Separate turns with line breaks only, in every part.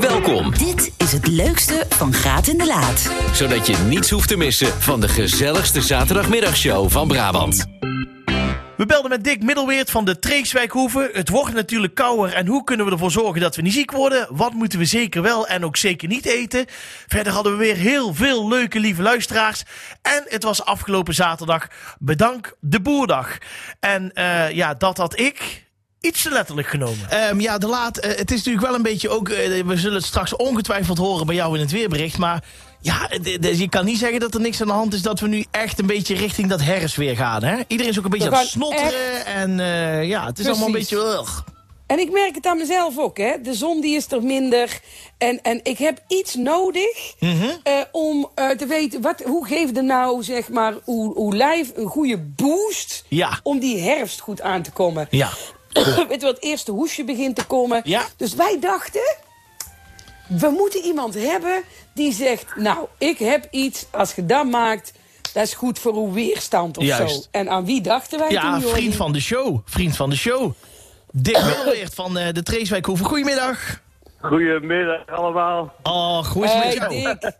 Welkom,
Dit is het leukste van Graat in de Laat.
zodat je niets hoeft te missen van de gezelligste zaterdagmiddagshow van Brabant.
We belden met Dick Middelweert van de Treekswijkhoeve. Het wordt natuurlijk kouder en hoe kunnen we ervoor zorgen dat we niet ziek worden? Wat moeten we zeker wel en ook zeker niet eten? Verder hadden we weer heel veel leuke lieve luisteraars. En het was afgelopen zaterdag Bedank de Boerdag. En eh, ja, dat had ik iets te letterlijk genomen.
Ehm, ja, de laat. eh, het is natuurlijk wel een beetje ook. eh, we zullen het straks ongetwijfeld horen bij jou in het weerbericht. Maar ja, d- d- je kan niet zeggen dat er niks aan de hand is. Dat we nu echt een beetje richting dat herfstweer gaan. Hè? Iedereen is ook een beetje
We
aan het
gaan
snotteren. En eh, ja, het is allemaal een
Precies.
beetje. ugh.
En ik merk het aan mezelf ook, hè. De zon die is er minder. En, en ik heb iets nodig
Mhm.
eh, om eh, te weten... Wat, hoe geeft er nou, zeg maar, uw, uw lijf een goede boost...
Ja.
om die herfst goed aan te komen?
Ja.
Weet je wat, het eerste hoesje begint te komen.
Ja.
Dus wij dachten... We moeten iemand hebben die zegt... Nou, ik heb iets, als je dat maakt... dat is goed voor uw weerstand of zo.
Juist.
En aan wie dachten wij toen,
Ja,
Jordi?
vriend van de show. Vriend van de show. Dick Middelweert van eh, de Treeswijk Hoeven. Goedemiddag.
Goedemiddag allemaal.
Oh, hoe is het
Hey,
met jou?
Dick.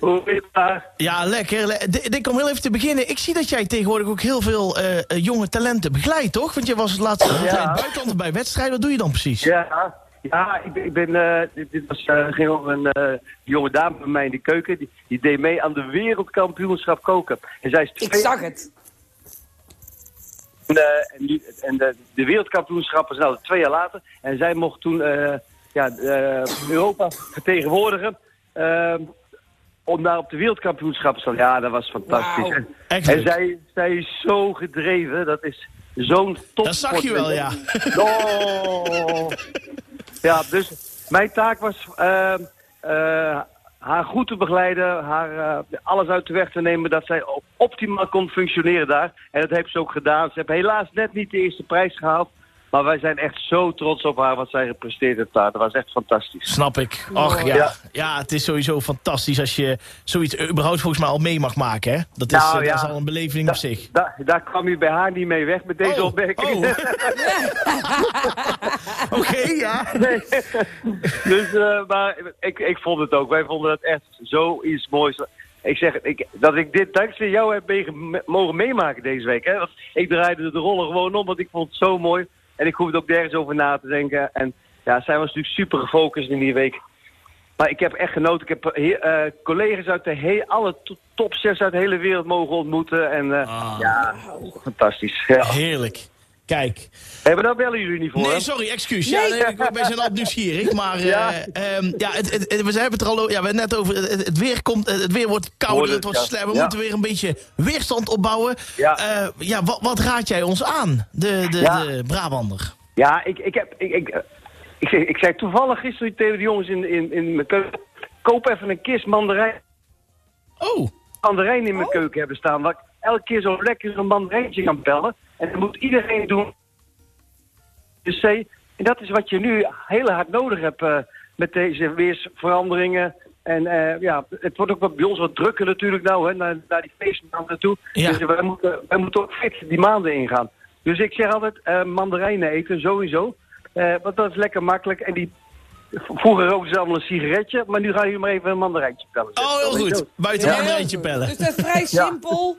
Hoe is het?
Ja, lekker. Le- D- Dick, om heel even te beginnen. Ik zie dat jij tegenwoordig ook heel veel eh, eh, jonge talenten begeleidt, toch? Want je was het laatste tijd in het buitenland bij wedstrijden. Wat doe je dan precies?
Ja, ja ik, ben- ik ben. eh, dit, dit was, eh, ging over een eh, jonge dame bij mij in de keuken. Die, die deed mee aan de wereldkampioenschap koken. En zij is
Ik
twee-
zag het.
En, eh, en, nu- en de, de wereldkampioenschap was nou twee jaar later. En zij mocht toen eh, ja, eh, Europa vertegenwoordigen. eh, om daar op de wereldkampioenschap te staan. Ja, dat was fantastisch.
Wauw.
En,
Echt
en
leuk.
zij, zij is zo gedreven. Dat is zo'n top.
Dat zag je wel, ja.
Oh. Ja, dus mijn taak was eh, eh, haar goed te begeleiden, haar eh, alles uit de weg te nemen, dat zij op- optimaal kon functioneren daar. En dat heeft ze ook gedaan. Ze heeft helaas net niet de eerste prijs gehaald, maar wij zijn echt zo trots op haar wat zij gepresteerd heeft daar. Dat was echt fantastisch.
Snap ik. Ach ja. ja.
Ja.
het is sowieso fantastisch als je zoiets überhaupt volgens mij al mee mag maken. Hè? Dat, is,
Nou,
eh, dat
ja.
is al een beleving op zich.
Da- daar kwam u bij haar niet mee weg met deze
Oh,
opmerking.
oh. Oké, ja.
Dus, eh, maar ik, ik vond het ook. Wij vonden dat echt zoiets moois. Ik zeg, ik, dat ik dit dankzij jou heb meege- mogen meemaken deze week. Hè? Want ik draaide de rollen gewoon om, want ik vond het zo mooi. En ik hoefde ook nergens over na te denken. En ja, zij was natuurlijk super gefocust in die week. Maar ik heb echt genoten. Ik heb eh, eh, collega's uit de he- alle to- top 6 uit de hele wereld mogen ontmoeten. En eh, ja, fantastisch. Ja.
Heerlijk. Kijk.
Hebben nou daar bellen jullie niet voor? hè?
Nee, sorry, excuus. Ja, nee, ik- wij zijn altijd nieuwsgierig, maar eh,
Ja.
ehm, ja, het, het- het- we hebben het er al o- ja, we hebben het net over. Het, het weer komt, het weer wordt kouder,
Wordt
het
het,
wordt
ja.
slimmer. We
Ja.
moeten weer een beetje weerstand opbouwen.
Ja.
Eh, ja wat, wat raad jij ons aan, de, de,
Ja.
de Brabander?
Ja, ik, ik, heb, ik, ik, eh, ik, zei, ik zei toevallig gisteren tegen de jongens in, in, in mijn keuken... koop even een kist mandarijn,
Oh,
mandarijn in mijn keuken hebben staan... waar ik elke keer zo lekker een mandarijntje kan bellen. En dat moet iedereen doen. Dus zei, en dat is wat je nu heel hard nodig hebt eh, met deze weersveranderingen... En eh, ja, het wordt ook wat, bij ons wat drukker natuurlijk nou, hè, naar, naar die feestmaanden toe.
Ja.
Dus wij moeten, wij moeten ook fit die maanden ingaan. Dus ik zeg altijd, eh, mandarijnen eten sowieso. Eh, want dat is lekker makkelijk. En die, vroeger rookten ze allemaal een sigaretje, maar nu gaan jullie maar even een mandarijntje tellen.
oh heel goed. Buiten een mandarijntje pellen.
Dus dat is vrij simpel.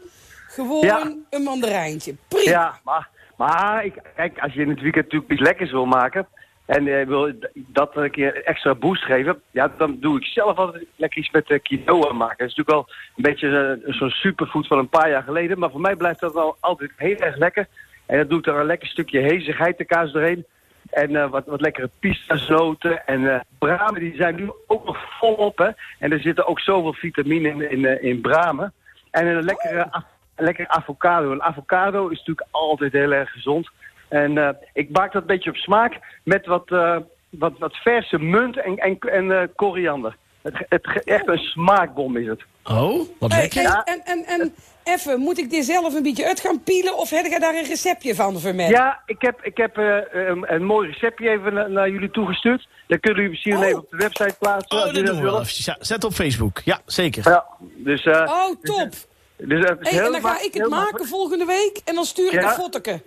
Gewoon
Ja.
een mandarijntje. Prima.
Ja, maar, maar ik, kijk, als je in het weekend natuurlijk iets lekkers wil maken... en eh, wil dat een keer extra boost geven... ja, dan doe ik zelf altijd lekker iets met eh, quinoa maken. Dat is natuurlijk wel een beetje eh, zo'n superfood van een paar jaar geleden... maar voor mij blijft dat wel altijd heel erg lekker. En dat doe ik er een lekker stukje hezigheid de kaas doorheen... En eh, wat, wat lekkere pistazoten en eh bramen, die zijn nu ook nog volop. Hè? En er zitten ook zoveel vitamine in, in, eh, in bramen. En een lekkere
Oh.
af- een lekker avocado. Een avocado is natuurlijk altijd heel erg gezond. En eh, ik maak dat een beetje op smaak met wat, eh, wat, wat verse munt en, en, en eh, koriander. Het, ge- het, ge- echt een smaakbom is het.
Oh, wat
Hey,
lekker.
hey, en, en, en even, moet ik dit zelf een beetje uit gaan pielen? Of heb je daar een receptje van vermeld?
Ja, ik heb, ik heb eh, een, een mooi receptje even na- naar, jullie toegestuurd. Dat kunnen jullie misschien
Oh.
even op de website plaatsen.
Oh,
als jullie
dat doen we wel
willen.
even. Ja, zet op Facebook. Ja, zeker.
Ja, dus, eh,
Oh, top.
dus het is
Hey, en
heel
dan
ma-
ga ik het
heel ma-
maken volgende week. En dan stuur ik
Ja.
een fotoke.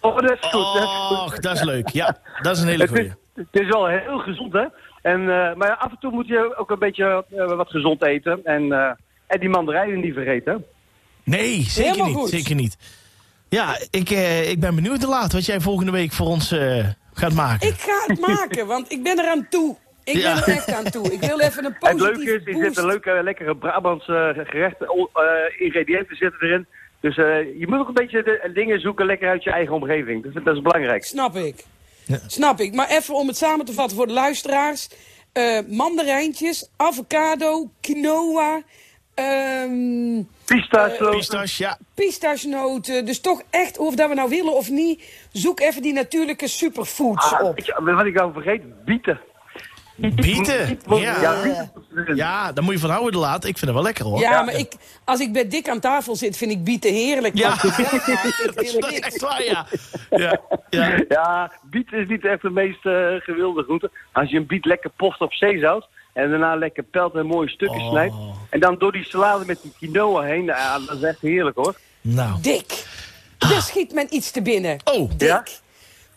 Oh, dat is goed. dat is goed.
Och, dat is leuk. Ja, dat is een hele
Het is,
goeie.
het is wel heel gezond, hè? En, eh, maar af en toe moet je ook een beetje eh, wat gezond eten. En, eh, en die mandarijnen niet vergeten.
Nee, zeker
Helemaal
niet,
goed.
zeker niet. Ja, ik, eh, ik ben benieuwd te laat wat jij volgende week voor ons eh, gaat maken.
Ik ga het maken, want ik ben eraan toe. Ik
Ja.
ben er echt aan toe. Ik wil even een
En het
positieve
leuke is, er
boost.
zitten leuke, lekkere Brabantse gerechten, o- eh, ingrediënten zitten erin. Dus eh, je moet ook een beetje de, dingen zoeken lekker uit je eigen omgeving. Dus, dat is belangrijk.
Snap ik.
Ja.
Snap ik. Maar even om het samen te vatten voor de luisteraars. eh, mandarijntjes, avocado, quinoa, ehm
Pistachio.
Pistache, ja.
pistachenoten. Dus toch echt, of dat we nou willen of niet, zoek even die natuurlijke superfoods
Ah,
op.
weet je wat ik al vergeet? Bieten.
Bieten?
Ja,
Ja.
bieten.
ja, daar moet je van houden de laat. Ik vind het wel lekker hoor.
Ja, maar ik, als ik bij Dick aan tafel zit, vind ik bieten heerlijk.
Ja.
Maar als ik zelf maak, vind ik
dat is
heerlijk
dat is
niks.
echt waar, ja. ja, ja.
Ja, biet is niet echt de meest eh, gewilde groente. Als je een biet lekker poft op zeezout en daarna lekker pelt en mooie stukjes
Oh.
snijdt. En dan door die salade met die quinoa heen, ah, dat is echt heerlijk hoor.
Nou.
Dick, daar schiet men iets te binnen.
Oh,
Dick,
ja?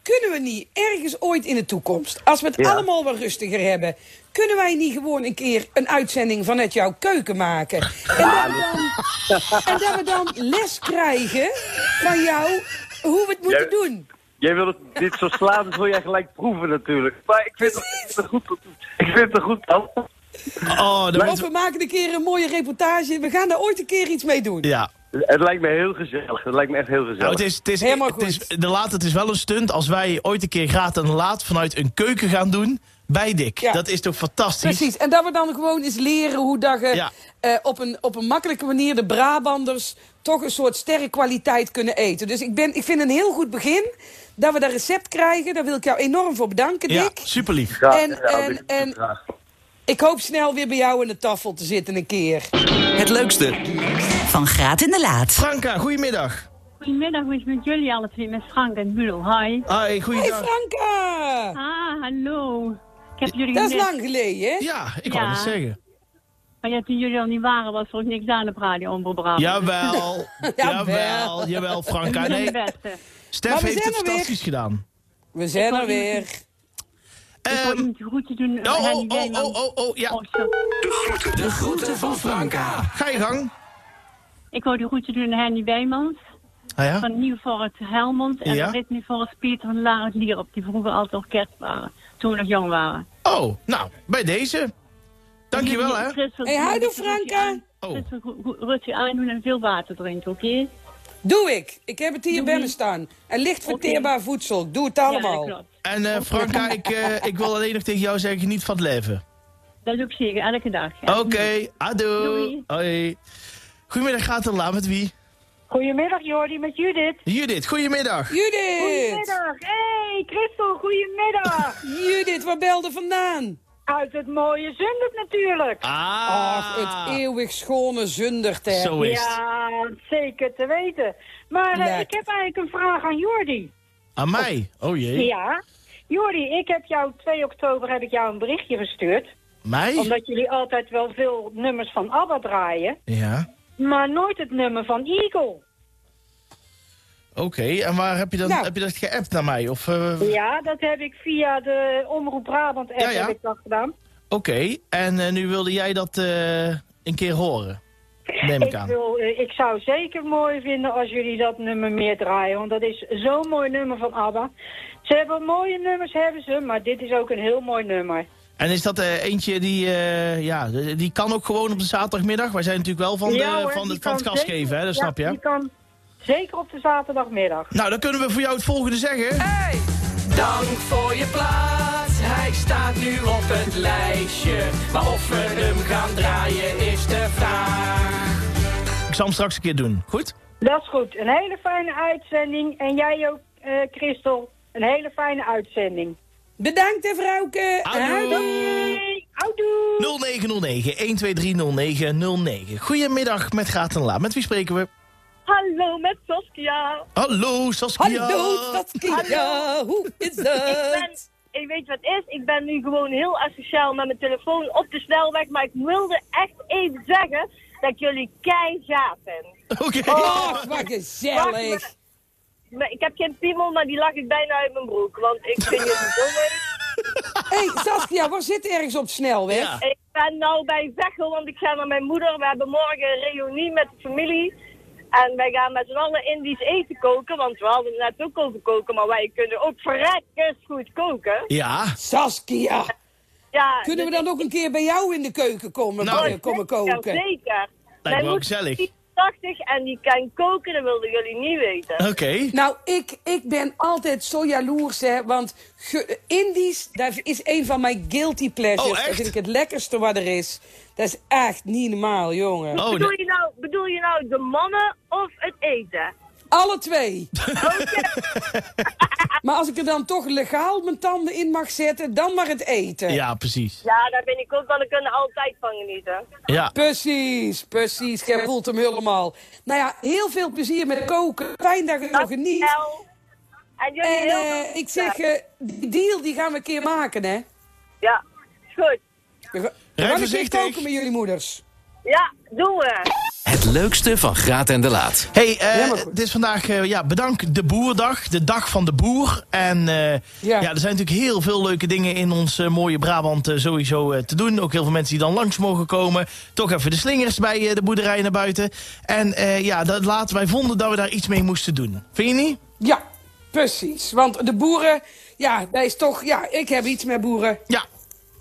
kunnen we niet ergens ooit in de toekomst, als we het
Ja.
allemaal wat rustiger hebben, kunnen wij niet gewoon een keer een uitzending vanuit jouw keuken maken? En, dat, we dan, en dat we dan les krijgen van jou hoe we het moeten
Ja.
doen.
Jij wil het, dit soort salades wil jij gelijk proeven natuurlijk. Maar ik vind het een goed, ik vind het een goed plan.
Oh, dat
Of we maken een keer een mooie reportage. We gaan daar ooit een keer iets mee doen.
Ja.
Het lijkt me heel gezellig. Het lijkt me echt heel
Nou,
gezellig.
het is, het is,
Helemaal
het is,
goed.
de laat, het is wel een stunt als wij ooit een keer graat en laat vanuit een keuken gaan doen bij Dick.
Ja.
Dat is toch fantastisch?
Precies, en dat we dan gewoon eens leren hoe dat je
Ja.
eh, op, een, op een makkelijke manier de Brabanders toch een soort sterrenkwaliteit kunnen eten. Dus ik, ben, ik vind een heel goed begin dat we dat recept krijgen. Daar wil ik jou enorm voor bedanken,
Ja,
Dick.
super lief.
Graag
en-
gedaan,
en-
dit is
en-
graag.
Ik hoop snel weer bij jou in de tafel te zitten een keer.
Het leukste,
Van Graat in de Laat.
Franka, goedemiddag.
Goedemiddag, hoe is het met jullie alle twee? Met Frank en Mulo. Hi.
Hoi,
Hey
Ah, goeiedag.
Franka!
Ah, hallo. Ik heb jullie
Dat is
gemist.
lang geleden, hè?
Ja, ik wou
Ja.
het zeggen.
Maar ja, toen jullie al niet waren, was er ook niks aan op Radio Omroep Brabant.
Jawel,
Jawel.
jawel, jawel, Franka.
Ik ben
Nee,
de beste.
Stef
Maar we
heeft
zijn
het
er weer.
fantastisch gedaan.
We zijn
Ik
er
hoor iemand
weer.
Ik
Ehm,
wil iemand de groeten doen.
oh,
Henny
oh, oh,
Weijman.
oh, oh, oh, ja,
Oh, zo.
ga je gang.
Ik wil de groeten doen aan Henny Wijmans.
Ah, ja?
Van Nieuw voor het Helmond. En
Ja.
ja? Ritme voor het Peter van Laar het Lierop. Die vroeger altijd orkest waren. Toen we nog jong waren.
Oh, nou, bij deze. Dankjewel, hè.
Hey, houdoe, Franka.
Oh.
Rustig aandoen en veel water drinken, oké?
Doe ik. Ik heb het hier bij me staan. En licht verteerbaar voedsel. Ik doe het allemaal.
Ja, dat klopt.
En eh, Franka, ik, eh, ik wil alleen nog tegen jou zeggen, geniet van het leven.
Dat doe ik zeker, elke dag. ja.
Oké, adoe.
Doei.
Hoi. Goedemiddag, gaat en laat met wie?
Goedemiddag Jordi, met Judith.
Judith, goedemiddag.
Judith!
Goedemiddag. Hey, Christel, goedemiddag.
Judith, waar belde vandaan?
Uit het mooie Zundert natuurlijk.
Ah,
Ach, het eeuwig schone zundert, hè.
Zo is het.
Ja, zeker te weten. Maar eh,
Lekker.
ik heb eigenlijk een vraag aan Jordi.
Aan mij. Oh jee.
Ja. Jordi, ik heb jou 2 oktober heb ik jou een berichtje gestuurd.
Mij?
Omdat jullie altijd wel veel nummers van ABBA draaien.
Ja.
Maar nooit het nummer van Eagle.
Oké, en waar heb je, dan,
Nou.
heb je dat geappt naar mij? Of, eh, Oké,
Ja, dat heb ik via de Omroep Brabant app
Ja, ja.
heb ik dat gedaan.
en eh, nu wilde jij dat eh, een keer horen? Neem ik
Ik,
aan.
wil, eh, ik zou zeker mooi vinden als jullie dat nummer meer draaien. Want dat is zo'n mooi nummer van ABBA. Ze hebben mooie nummers, hebben ze. Maar dit is ook een heel mooi nummer.
En is dat eh, eentje die, eh, ja, die kan ook gewoon op de zaterdagmiddag? Wij zijn natuurlijk wel van, de,
Ja hoor,
van,
die
het, van het
kan
gas
zeker-
geven, hè? dat
ja,
snap je. hè?
Die kan zeker op de zaterdagmiddag.
Nou, dan kunnen we voor jou het volgende zeggen.
Dank voor je plaats, hij staat nu op het lijstje. Maar of we hem gaan draaien is de vraag.
Ik zal hem straks een keer doen. Goed?
Dat is goed. Een hele fijne uitzending. En jij ook, eh, Christel. Een hele fijne uitzending.
Bedankt, hè, vrouwke.
Doei. Houdoe.
0909-1230909. Goedemiddag met Gaat en Laat. Met wie spreken we?
Hallo, met Saskia.
Hallo Saskia.
Hallo, Saskia. Hoe is
ben,
het?
ik weet wat het is. Ik ben nu gewoon heel asociaal met mijn telefoon op de snelweg. Maar ik wilde echt even zeggen dat jullie kei gaaf zijn.
Oké.
Oh.
Och, wat gezellig.
Maar Ik heb geen piemel, maar die lag ik bijna uit mijn broek. Want ik vind jullie zo leuk.
hey, Saskia, waar zit ergens op de snelweg?
Ja.
Ik ben nou bij Veghel, want ik ga naar mijn moeder. We hebben morgen een reunie met de familie. En wij gaan met z'n allen Indisch eten koken, want we hadden het net ook over koken, maar wij kunnen ook verrekkers goed koken.
Ja.
Saskia,
Ja,
kunnen we dan ook een keer bij jou in de keuken komen,
Nou,
eh, komen koken?
zeker.
Lijkt me
Wij
ook
moeten
gezellig.
80 en die kan koken, dat wilden jullie niet weten.
Oké.
Nou, ik, ik ben altijd zo jaloers, hè. Want ge- Indisch, dat is een van mijn guilty pleasures.
Oh, echt?
Dat vind ik het lekkerste wat er is. Dat is echt niet normaal, jongen.
Oh,
bedoel,
nee.
je nou, bedoel je nou de mannen of het eten?
Alle twee. maar als ik er dan toch legaal mijn tanden in mag zetten, dan maar het eten.
Ja, precies.
Ja, daar ben ik ook wel. Ik kan er altijd van genieten.
Ja.
Precies, precies. Jij voelt hem helemaal. Nou ja, heel veel plezier met koken. Fijn dat je nog geniet.
El. En jullie
En
heel
eh,
veel
ik zeg,
succes.
eh, die deal die gaan we een keer maken, hè.
Ja, is goed.
We gaan- we
Rij
gaan een keer
voorzichtig.
koken met jullie moeders.
Ja, doen we.
Het leukste van Graat en de Laat.
Hey, eh,
Ja, maar goed.
het is vandaag, eh, ja, bedankt de Boerdag, de dag van de boer. En eh, ja.
Ja.
er zijn natuurlijk heel veel leuke dingen in ons eh, mooie Brabant eh, sowieso eh, te doen. Ook heel veel mensen die dan langs mogen komen. Toch even de slingers bij eh, de boerderij naar buiten. En eh, ja, dat laten wij vonden dat we daar iets mee moesten doen. Vind je niet?
Ja, precies. Want de boeren, ja, dat is toch, ja, ik heb iets met boeren.
Ja,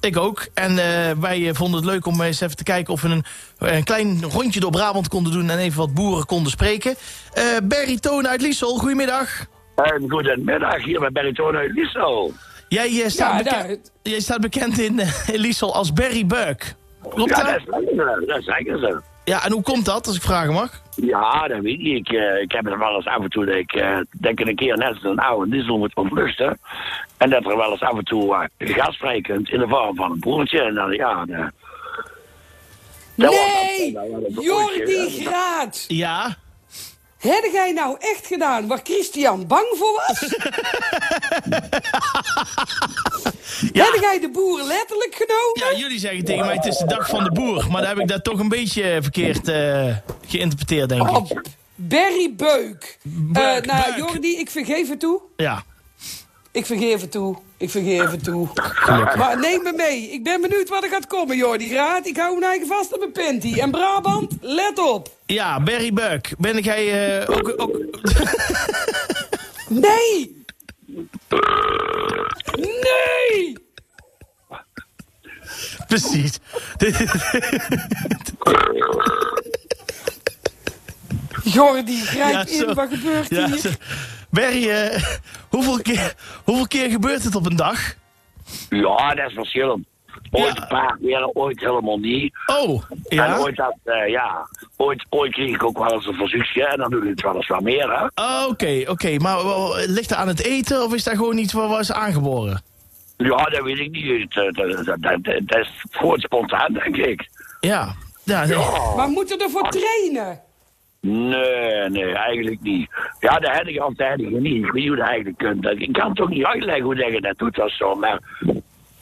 ik ook. En eh, wij eh, vonden het leuk om eens even te kijken of we een, een klein rondje door Brabant konden doen en even wat boeren konden spreken. Eh Berry Toon uit Liesel, goedemiddag.
En goedemiddag, hier bij Beritoon uit Liesel.
Jij, eh,
Ja,
staat
daar,
bekend, jij staat bekend in, eh, in Liesel als Berry Buik. Klopt
Eh, Ja,
dat?
dat zeggen ze, dat zeggen ze.
Ja, en hoe komt dat, als ik vragen mag?
Ja, dat weet ik. Ik, eh, ik heb er wel eens af en toe, dat ik eh, denk ik een keer net als een oude diesel moet ontlusten. En dat er wel eens af en toe eh gastvrij kunt in de vorm van een broertje. En dan, ja, eh, dat was-
Nee!
dat was een
Jordi
broertje.
Graat!
Ja.
Heb jij nou echt gedaan waar Christian bang voor was?
Ja.
Heb jij de boeren letterlijk
ja,
genomen?
jullie zeggen tegen mij het is de dag van de boer. Maar dan heb ik dat toch een beetje eh, verkeerd eh, geïnterpreteerd, denk ik.
Oh, Berry Beuk. Eh
Beuk,
nou,
Beuk.
Jordi, ik vergeef het toe.
Ja.
Ik vergeef het toe. Ik vergeef het toe. Maar neem me mee. Ik ben benieuwd wat er gaat komen, Jordi Graat. Ik hou mijn eigen vast op mijn panty. En Brabant, let op.
Ja, Berry Buik. Ben ik jij eh, ook, ook...
Nee! Nee!
Precies.
Jordi, grijp
Ja, zo.
in. Wat gebeurt
Ja,
hier?
zo. Berry, eh, hoeveel, keer, hoeveel keer gebeurt het op een dag?
Ja, dat is verschillend. Ooit
Ja.
een paar keer, ooit helemaal niet.
Oh,
En
ja.
ooit, dat, eh, ja, ooit, ooit kreeg ik ook wel eens een verzoekje. En dan doe ik het wel eens wat meer, hè.
Ah, Oké, oké. Maar wel, ligt dat aan het eten of is dat gewoon iets wat was aangeboren?
Ja, dat weet ik niet. Dat, dat, dat, dat, dat is gewoon spontaan, denk ik.
Ja. Ja, nee.
Maar moeten we ervoor trainen?
Nee, nee, eigenlijk niet. Ja, dat heb ik altijd niet. Ik weet niet hoe dat eigenlijk kunt. Ik kan het ook niet uitleggen hoe dat je dat doet of zo. Maar,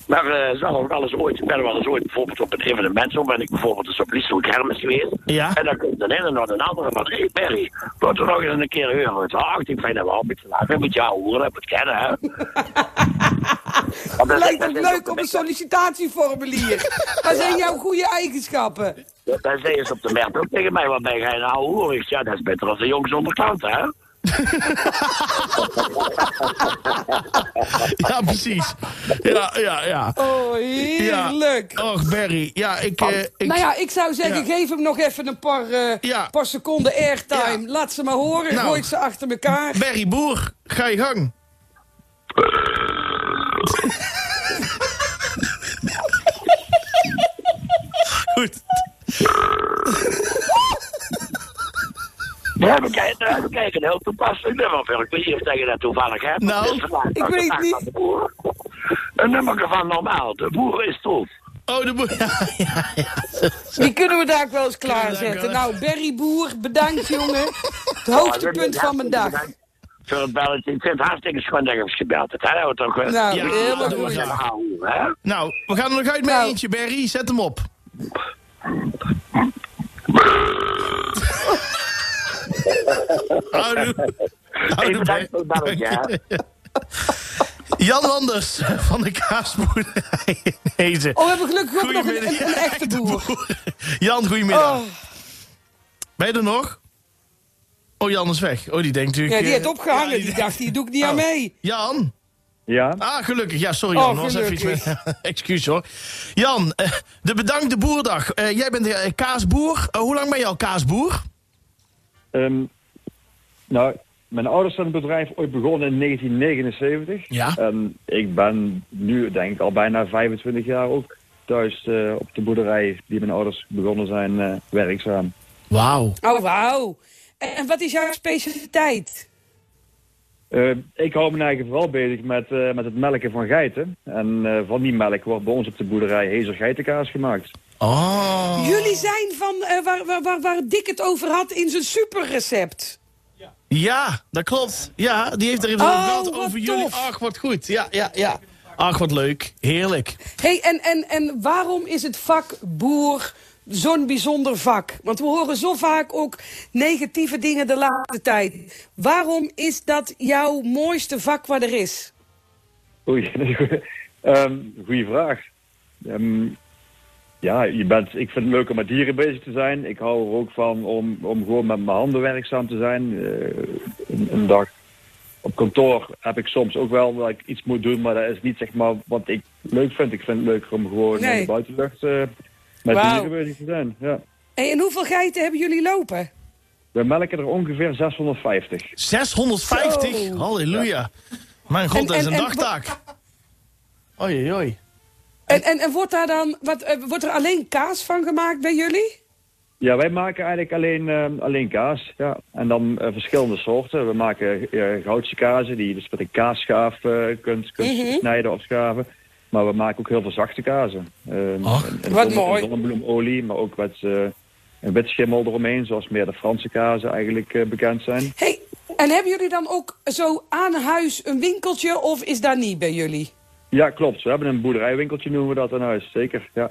maar eh, zal ook wel eens ooit, ik ben wel eens ooit bijvoorbeeld op een evenement. Zo ben ik bijvoorbeeld eens op Liesel Kermis geweest.
Ja.
En dan komt de ene naar de andere van, hé hey, Perry, laten we nog eens een keer horen. uit de hart. ik vind dat wel een beetje laag. Ik moet jou horen, ik moet kennen, hè. Want dat-
Lijkt
dat
ook leuk
is de
op een
Mertel-
sollicitatieformulier. Wat zijn jouw goede eigenschappen?
Dat zei ze op de merk ook tegen mij, wat ben jij nou hoer? Ik zeg, ja, dat is beter als de jongens zonder klant, hè.
ja, precies. Ja, ja, ja.
Oh, heerlijk.
Ja. Och, Berry. Ja, ik... eh, ik
Nou ja, ik zou
Ja.
zeggen, geef hem nog even een paar, eh,
Ja.
paar seconden airtime.
Ja.
Laat ze maar horen,
Nou.
gooi ze achter elkaar.
Berry Boer, ga je gang. Goed.
Ja, we kijken, ja, we kijken heel toepasselijk nummer, Phil. Ik weet niet of dat je dat toevallig hebt.
Nou,
Het is vandaag
ik
nog de
weet
dag
niet.
van de boer. Een nummer van normaal. De boer is troef.
Oh, de boer... Ja, ja, ja.
Die kunnen we daar ook wel eens
Kunnen
klaarzetten.
we daar
Nou, Berry Boer, bedankt jongen. Het hoogtepunt van mijn dag.
Voor het belletje. Ik vind het hartstikke schoon dat je hebt gebeld. hebt, hè? Dat toch goed.
Nou,
Ja,
helemaal
dat doen we
goed.
graag.
Nou, hè?
Nou, we gaan er nog uit met
Nou.
eentje, Berry. Zet hem op. Houdoe.
Ik
Houdoe,
bedankt
Berry.
voor het belletje, hè.
Jan Landers van de kaasboerderij in Hezen.
Oh, we hebben gelukkig ook nog een,
Goedemiddag.
een- een echte boer.
Jan, goedemiddag.
Oh,
Ben je er nog? Oh, Jan is weg. Oh, die denkt natuurlijk...
ja, die
eh,
heeft opgehangen.
ja, Oh.
Die dacht, die doe ik niet aan mee.
Jan?
Ja.
Ah, gelukkig. Ja, sorry
Oh,
Jan. Was even iets
gelukkig.
met... Excuus hoor. Jan, eh, de bedankte boerdag. Eh, jij bent eh, kaasboer. Eh, hoe lang ben je al kaasboer?
Ehm, nou, mijn ouders zijn het bedrijf ooit begonnen in 1979.
Ja.
En ik ben nu, denk ik, al bijna 25 jaar ook thuis eh, op de boerderij die mijn ouders begonnen zijn eh, werkzaam.
Wauw.
Oh, wauw. En, en wat is jouw specialiteit?
Eh, ik hou me eigenlijk vooral bezig met, eh, met het melken van geiten. En eh, van die melk wordt bij ons op de boerderij hezer geitenkaas gemaakt.
Oh.
Jullie zijn van eh, waar, waar, waar, waar Dick het over had in zijn superrecept.
Ja, dat klopt. Ja, die heeft er even
Oh,
gebeld
wat
over jullie.
tof.
Ach, wat goed. Ja, ja, ja. Ach, wat leuk. Heerlijk.
hey, en, en, en waarom is het vak boer zo'n bijzonder vak? Want we horen zo vaak ook negatieve dingen de laatste tijd. Waarom is dat jouw mooiste vak wat er is?
Oei, Ehm goede vraag. Ehm, ja, je bent, ik vind het leuk om met dieren bezig te zijn. Ik hou er ook van om, om gewoon met mijn handen werkzaam te zijn. Eh, een, een dag op kantoor heb ik soms ook wel dat ik iets moet doen, maar dat is niet zeg maar wat ik leuk vind. Ik vind het leuker om gewoon
Nee.
in de buitenlucht eh, met
Wauw.
dieren bezig te zijn. Ja.
Hey, en hoeveel geiten hebben jullie lopen?
We melken er ongeveer 650.
650.
Zo.
Halleluja. Mijn god,
En-
dat is
en-
een
en-
dagtaak. Oei, oei.
En, en, en wordt, daar dan, wat, eh, wordt er alleen kaas van gemaakt bij jullie?
Ja, wij maken eigenlijk alleen, eh, alleen kaas. Ja. En dan eh, verschillende soorten. We maken eh goudse kazen, die je dus met een kaasschaaf eh, kunt, kunt
Mhm.
snijden of schaven. Maar we maken ook heel veel zachte kazen. Ehm,
Ach.
en- en
Wat
zonder-
mooi.
Zonnebloemolie, maar ook met eh, een wit schimmel eromheen, zoals meer de Franse kazen eigenlijk eh, bekend zijn.
Hey, en hebben jullie dan ook zo aan huis een winkeltje of is dat niet bij jullie?
Ja, klopt. We hebben een boerderijwinkeltje, noemen we dat aan huis. Zeker, ja.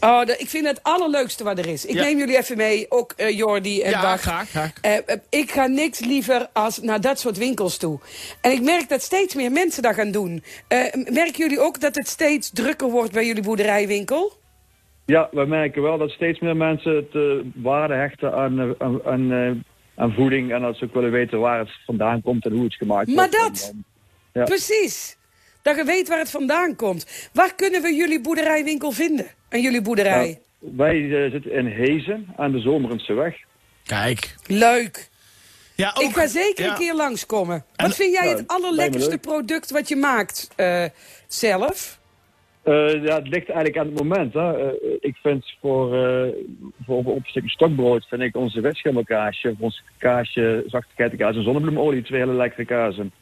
Oh, dat- ik vind het allerleukste wat er is. Ik
Ja.
neem jullie even mee, ook eh, Jordi en
Ja,
Bart.
graag, graag.
Eh, eh, ik ga niks liever als naar dat soort winkels toe. En ik merk dat steeds meer mensen dat gaan doen. Eh, merken jullie ook dat het steeds drukker wordt bij jullie boerderijwinkel?
Ja, we merken wel dat steeds meer mensen het eh, waarde hechten aan, eh, aan, aan, eh, aan voeding. En dat ze ook willen weten waar het vandaan komt en hoe het gemaakt
Maar
wordt.
dat-
En Ja.
Precies. Dat je weet waar het vandaan komt. Waar kunnen we jullie boerderijwinkel vinden? En jullie
dan,
boerderij.
eh, wij eh, zitten in Hezen aan de Zomerendse weg.
Kijk.
Leuk.
Ja, ook,
ik ga zeker
ja.
een keer langskomen.
En-
Wat vind jij
Ja,
het
lijkt me
allerlekkerste
leuk.
product wat je maakt eh, zelf?
Eh, ja, het ligt eigenlijk aan het moment. Hè. Eh, ik vind voor, eh voor op een stukje stokbrood vind ik onze witschimmelkaasje, of ons kaasje, zachte geitenkaas en zonnebloemolie twee hele lekkere kazen.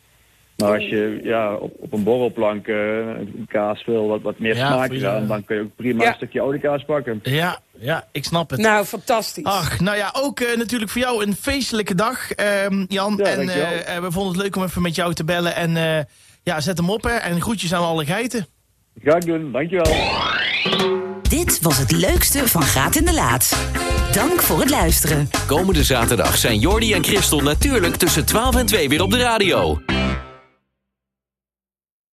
Maar als je ja, op, op een borrelplank eh, een kaas wil wat, wat meer
Ja,
smaak
voor je-
eraan, dan kun je ook prima
Ja.
een stukje oude kaas pakken.
Ja, ja, ik snap het.
Nou, fantastisch.
Ah,
Ach, nou ja, ook eh, natuurlijk voor jou een feestelijke dag, ehm, Jan.
Ja,
en
dankjewel.
eh, eh, we vonden het leuk om even met jou te bellen. En eh, ja, zet hem op hè. En groetjes aan alle geiten.
Ga ik doen, dankjewel.
Dit was het leukste van Graat in de Laat. Dank voor het luisteren.
Komende zaterdag zijn Jordi en Christel natuurlijk tussen 12 en 2 weer op de radio.